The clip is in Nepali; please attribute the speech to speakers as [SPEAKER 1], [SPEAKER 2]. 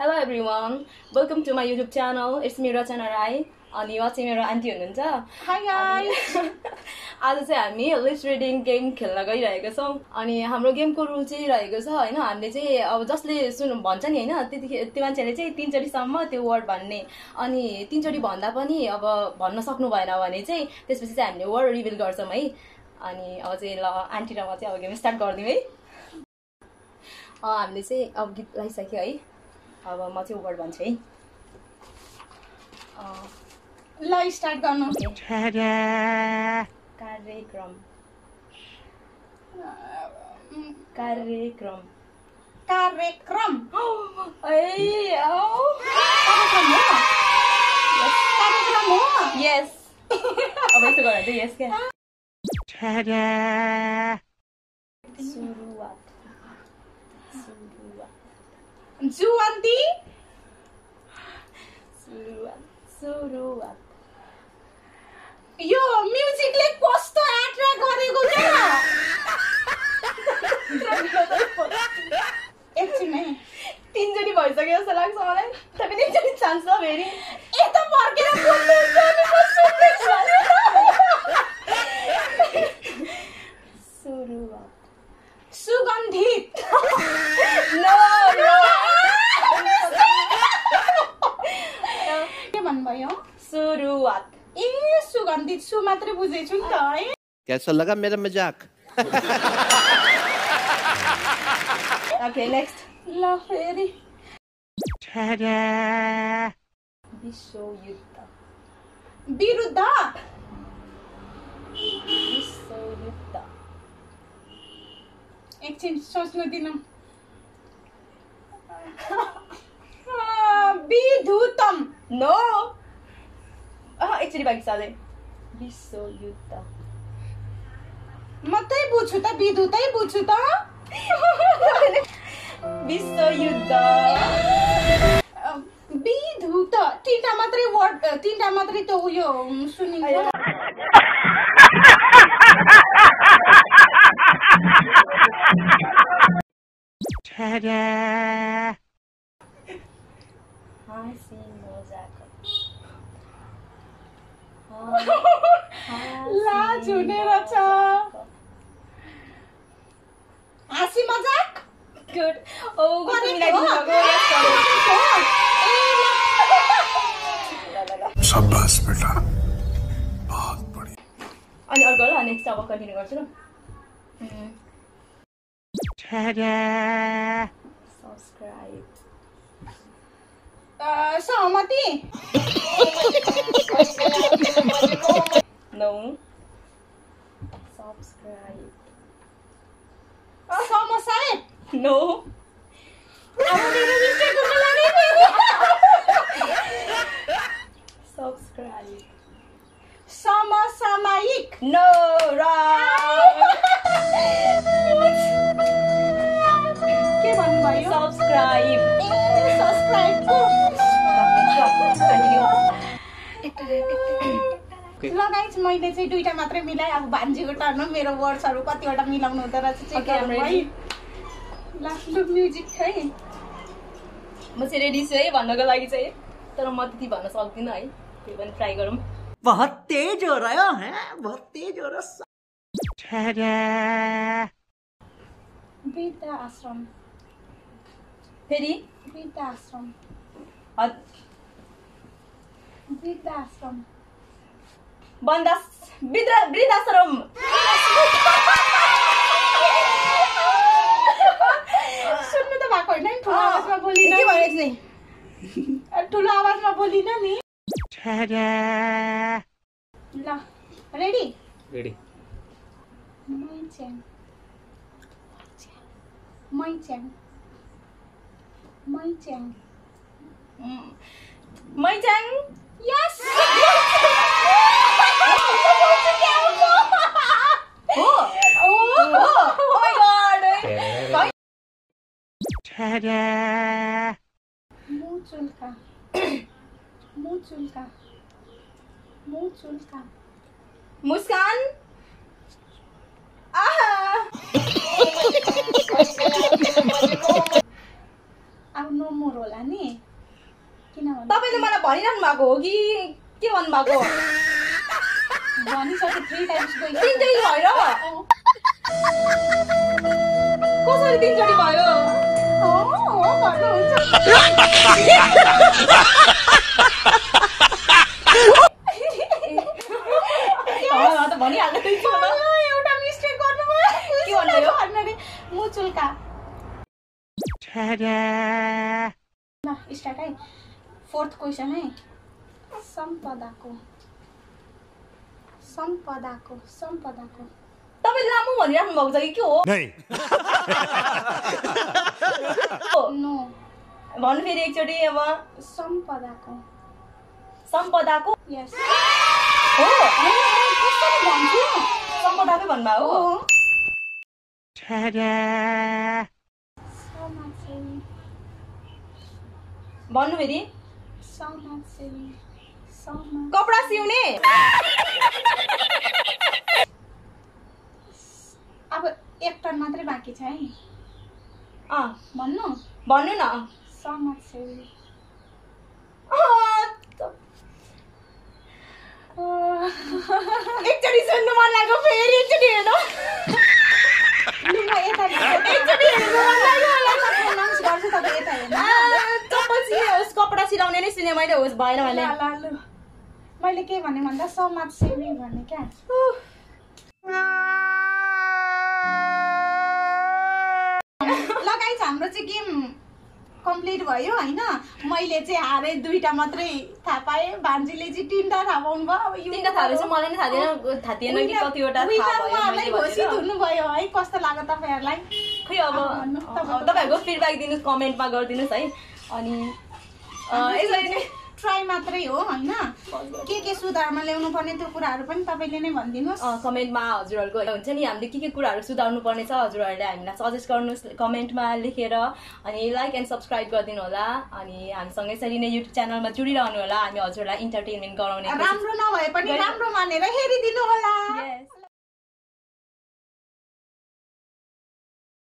[SPEAKER 1] Hello everyone welcome to my YouTube channel it's मेरो रचना राई अनि उहाँ चाहिँ मेरो आन्टी हुनुहुन्छ
[SPEAKER 2] Hi guys!
[SPEAKER 1] आज चाहिँ हामी लिप्स रिडिङ गेम खेल्न गइरहेको छौँ अनि हाम्रो गेमको रुल चाहिँ रहेको छ होइन हामीले चाहिँ अब जसले सुन भन्छ नि होइन त्यतिखेर त्यो मान्छेले चाहिँ तिनचोटिसम्म त्यो वर्ड भन्ने अनि तिनचोटि भन्दा पनि अब भन्न सक्नु भएन भने चाहिँ त्यसपछि चाहिँ हामीले वर्ड रिभिल गर्छौँ है अनि अब चाहिँ ल आन्टी र म चाहिँ अब गेम स्टार्ट गरिदिउँ है अँ, हामीले चाहिँ अब गीत लगाइसक्यो है अब म चाहिँ वर्ड भन्छु है अँ,
[SPEAKER 2] ल स्टार्ट गर्नु
[SPEAKER 1] कार्यक्रम कार्यक्रम
[SPEAKER 2] कार्यक्रम
[SPEAKER 1] ए
[SPEAKER 2] कार्यक्रम हो कार्यक्रम हो
[SPEAKER 1] यस अब यस्तो गरेर चाहिँ यस क्या सुरुवात सुरुवात
[SPEAKER 2] जुवन्ती
[SPEAKER 1] सुरुवात सुरुवात
[SPEAKER 2] यो म्युजिकले कस्तो एट्र्याक्ट गरेको क्या एकछिन है
[SPEAKER 1] तिनचोटि भइसक्यो जस्तो लाग्छ मलाई तपाईँ तिनचोटि चान्स ल फेरि
[SPEAKER 2] यता
[SPEAKER 1] तो
[SPEAKER 2] फर्केर बोल्दैछु अनि म सुन्दैछु नि त।
[SPEAKER 1] सुरुवात
[SPEAKER 2] सुगन्धित के भन्नुभयो
[SPEAKER 1] सुरुवात
[SPEAKER 2] ए सुगन्धित सु मात्रै बुझेछु नि त है
[SPEAKER 3] कैसा लगा मेरा मजाक
[SPEAKER 1] ओके नेक्स्ट
[SPEAKER 2] ल फेरि
[SPEAKER 1] विश्वयुद्ध
[SPEAKER 2] विरुद्ध
[SPEAKER 1] विश्वयुद्ध
[SPEAKER 2] एकछिन सोच्नु दिनु Ah, अँ, विधुतम
[SPEAKER 1] No! अह, एकचोटि बाँकी छ अझै विश्वयुद्ध
[SPEAKER 2] म त्यही बुझ्छु त विधुतै बुझ्छु त
[SPEAKER 1] विश्वयुद्ध
[SPEAKER 2] अँ, विधुत तिनवटा मात्रै वर्ड तिनवटा मात्रै त्यो उयो उम्, सुनिन्छ
[SPEAKER 1] हाँसी मजाक
[SPEAKER 2] लाज हुने रहेछ हाँसी मजाक
[SPEAKER 1] गुड ओ गुड
[SPEAKER 2] गरेको हो। गरेको हो। ए, ल।
[SPEAKER 4] शाबाश बेटा बहुत बढ़िया
[SPEAKER 1] अनि अर्को ल नेक्स्ट अब कन्टिन्यू गर्छु ल 음. सब्सक्राइब
[SPEAKER 2] अ, सहमति
[SPEAKER 1] नौ सब्सक्राइब
[SPEAKER 2] समसाय
[SPEAKER 1] नो सब्सक्राइब
[SPEAKER 2] समसामयिक
[SPEAKER 1] No, wrong.
[SPEAKER 2] के भन्नुभयो
[SPEAKER 1] Subscribe.
[SPEAKER 2] ए, subscribe पो। लगाइच मैले चाहिँ दुइटा मात्रै मिलाएँ अब भान्जीको टर्न हो, मेरो वर्ड्सहरू कतिवटा मिलाउनु हुँदो रहेछ चेक
[SPEAKER 1] Okay, I'm
[SPEAKER 2] गरौँ है
[SPEAKER 1] ready.
[SPEAKER 2] लास्ट म्युजिक है
[SPEAKER 1] म चाहिँ रेडी छु है भन्नको लागि चाहिँ तर म त्यति भन्न सक्दिनँ है त्यही पनि ट्राई गरौँ
[SPEAKER 5] बहुत तेज हो रहा है बहुत तेज हो रहा है।
[SPEAKER 2] वृद्ध आश्रम
[SPEAKER 1] फेरि
[SPEAKER 2] वृद्ध आश्रम
[SPEAKER 1] हत-
[SPEAKER 2] वृद्ध आश्रम
[SPEAKER 1] बन्दास वृद्ध वृद्धाश्रम
[SPEAKER 2] सुन्नु त भएको होइन नि, ठुलो आवाजमा
[SPEAKER 1] के भनेको चाहिँ
[SPEAKER 2] बोलिन ठुलो आवाजमा बोलिन नि ल रेडी
[SPEAKER 3] रेडी
[SPEAKER 2] मैच्याङ मैच्याङ मैच्याङ
[SPEAKER 1] मैचाङ
[SPEAKER 2] यस
[SPEAKER 1] हो हो Oh my God, है।
[SPEAKER 2] मुचुल्का मुचुल्का मुचुल्का
[SPEAKER 1] मुस्कान आहा
[SPEAKER 2] आउन नो मोर होला नि किन भन्दा
[SPEAKER 1] तपाईँले मलाई भनिरहनु भएको हो कि के भन्नुभएको हो?
[SPEAKER 2] भनिसके थ्री टाइम्स गयो
[SPEAKER 1] तिनचोटि भएर कसरी तिनचोटि भयो
[SPEAKER 2] हो हो भन्नुहुन्छ
[SPEAKER 1] अँ, म त भनिहाल्नु
[SPEAKER 2] अँ, एउटा मिस्टेक गर्नुभयो
[SPEAKER 1] के भन्नुभयो?
[SPEAKER 2] भन्नु अरे मुचुल्का ल स्टार्ट है फोर्थ क्वेसन है सम्पदाको सम्पदाको सम्पदाको
[SPEAKER 1] तपाईँले लामो भनिराख्नु भएको छ कि के हो
[SPEAKER 2] नो
[SPEAKER 1] भन्नु फेरि एकचोटि अब
[SPEAKER 2] सम्पदाको
[SPEAKER 1] सम्पदाको
[SPEAKER 2] यस
[SPEAKER 1] हो
[SPEAKER 2] कसरी भन्छु
[SPEAKER 1] सम्पदाकै भन्नुभयो हो
[SPEAKER 2] समाजसेवी
[SPEAKER 1] भन्नु फेरि
[SPEAKER 2] समाजसेवी समाज
[SPEAKER 1] कपडा सिउने
[SPEAKER 2] अब एक टन मात्रै बाँकी छ है
[SPEAKER 1] अँ,
[SPEAKER 2] भन्नु
[SPEAKER 1] भन्नु न
[SPEAKER 2] समाजसेवी
[SPEAKER 1] अँ, त-
[SPEAKER 2] अँ,
[SPEAKER 1] एकचोटि सुन्नु मन लाग्यो फेरि एकचोटि हेर्नु
[SPEAKER 2] लु, म यता हेर्छु।
[SPEAKER 1] एकचोटि हेर्नु मन लाग्यो मलाई।
[SPEAKER 2] म announce गर्छु तपाईँ यता हेर्नु
[SPEAKER 1] आँ, चप्पल सिने होस् कपडा सिलाउने नै सिने मैले होस् भएन
[SPEAKER 2] ल,
[SPEAKER 1] भने
[SPEAKER 2] ल, लु। मैले के भने भन्दा समाजसेवी भने क्या
[SPEAKER 1] उह,
[SPEAKER 2] लगाइज हाम्रो चाहिँ गेम कम्प्लिट भयो होइन मैले चाहिँ हारेँ दुईवटा मात्रै थाहा पाएँ भान्जीले चाहिँ तिनवटा थाहा पाउनु भयो अब यो
[SPEAKER 1] तिनवटा थाहा रहेछ मलाई नै थाहा थिएन थाहा थिएन कि
[SPEAKER 2] Winner-
[SPEAKER 1] कतिवटा थाहा
[SPEAKER 2] winner
[SPEAKER 1] भयो
[SPEAKER 2] उहाँलाई
[SPEAKER 1] मैले
[SPEAKER 2] घोषित
[SPEAKER 1] भनेर।
[SPEAKER 2] हुनुभयो है कस्तो लाग्यो तपाईँहरूलाई
[SPEAKER 1] खै अब
[SPEAKER 2] अब भन्नु,
[SPEAKER 1] अब तपाईँहरूको फिडब्याक दिनुहोस् कमेन्टमा गरिदिनुहोस् है अनि अ, यसरी नै
[SPEAKER 2] ट्राई मात्रै हो होइन के के सुधारमा ल्याउनु पर्ने त्यो कुराहरू पनि तपाईँले नै भनिदिनुहोस्
[SPEAKER 1] अ, कमेन्टमा हजुरहरूको हुन्छ नि हामीले के के कुराहरू सुधार्नु पर्नेछ हजुरहरूले हामीलाई सजेस्ट गर्नुहोस् कमेन्टमा लेखेर अनि लाइक एन्ड सब्सक्राइब गरिदिनु होला अनि हामीसँग यसरी नै युट्युब च्यानलमा जुडिरहनु होला हामी हजुरहरूलाई इन्टरटेनमेन्ट गराउने कोसिस-
[SPEAKER 2] राम्रो नभए पनि
[SPEAKER 1] गरे-
[SPEAKER 2] राम्रो मानेर हेरिदिनु होला
[SPEAKER 1] Yes.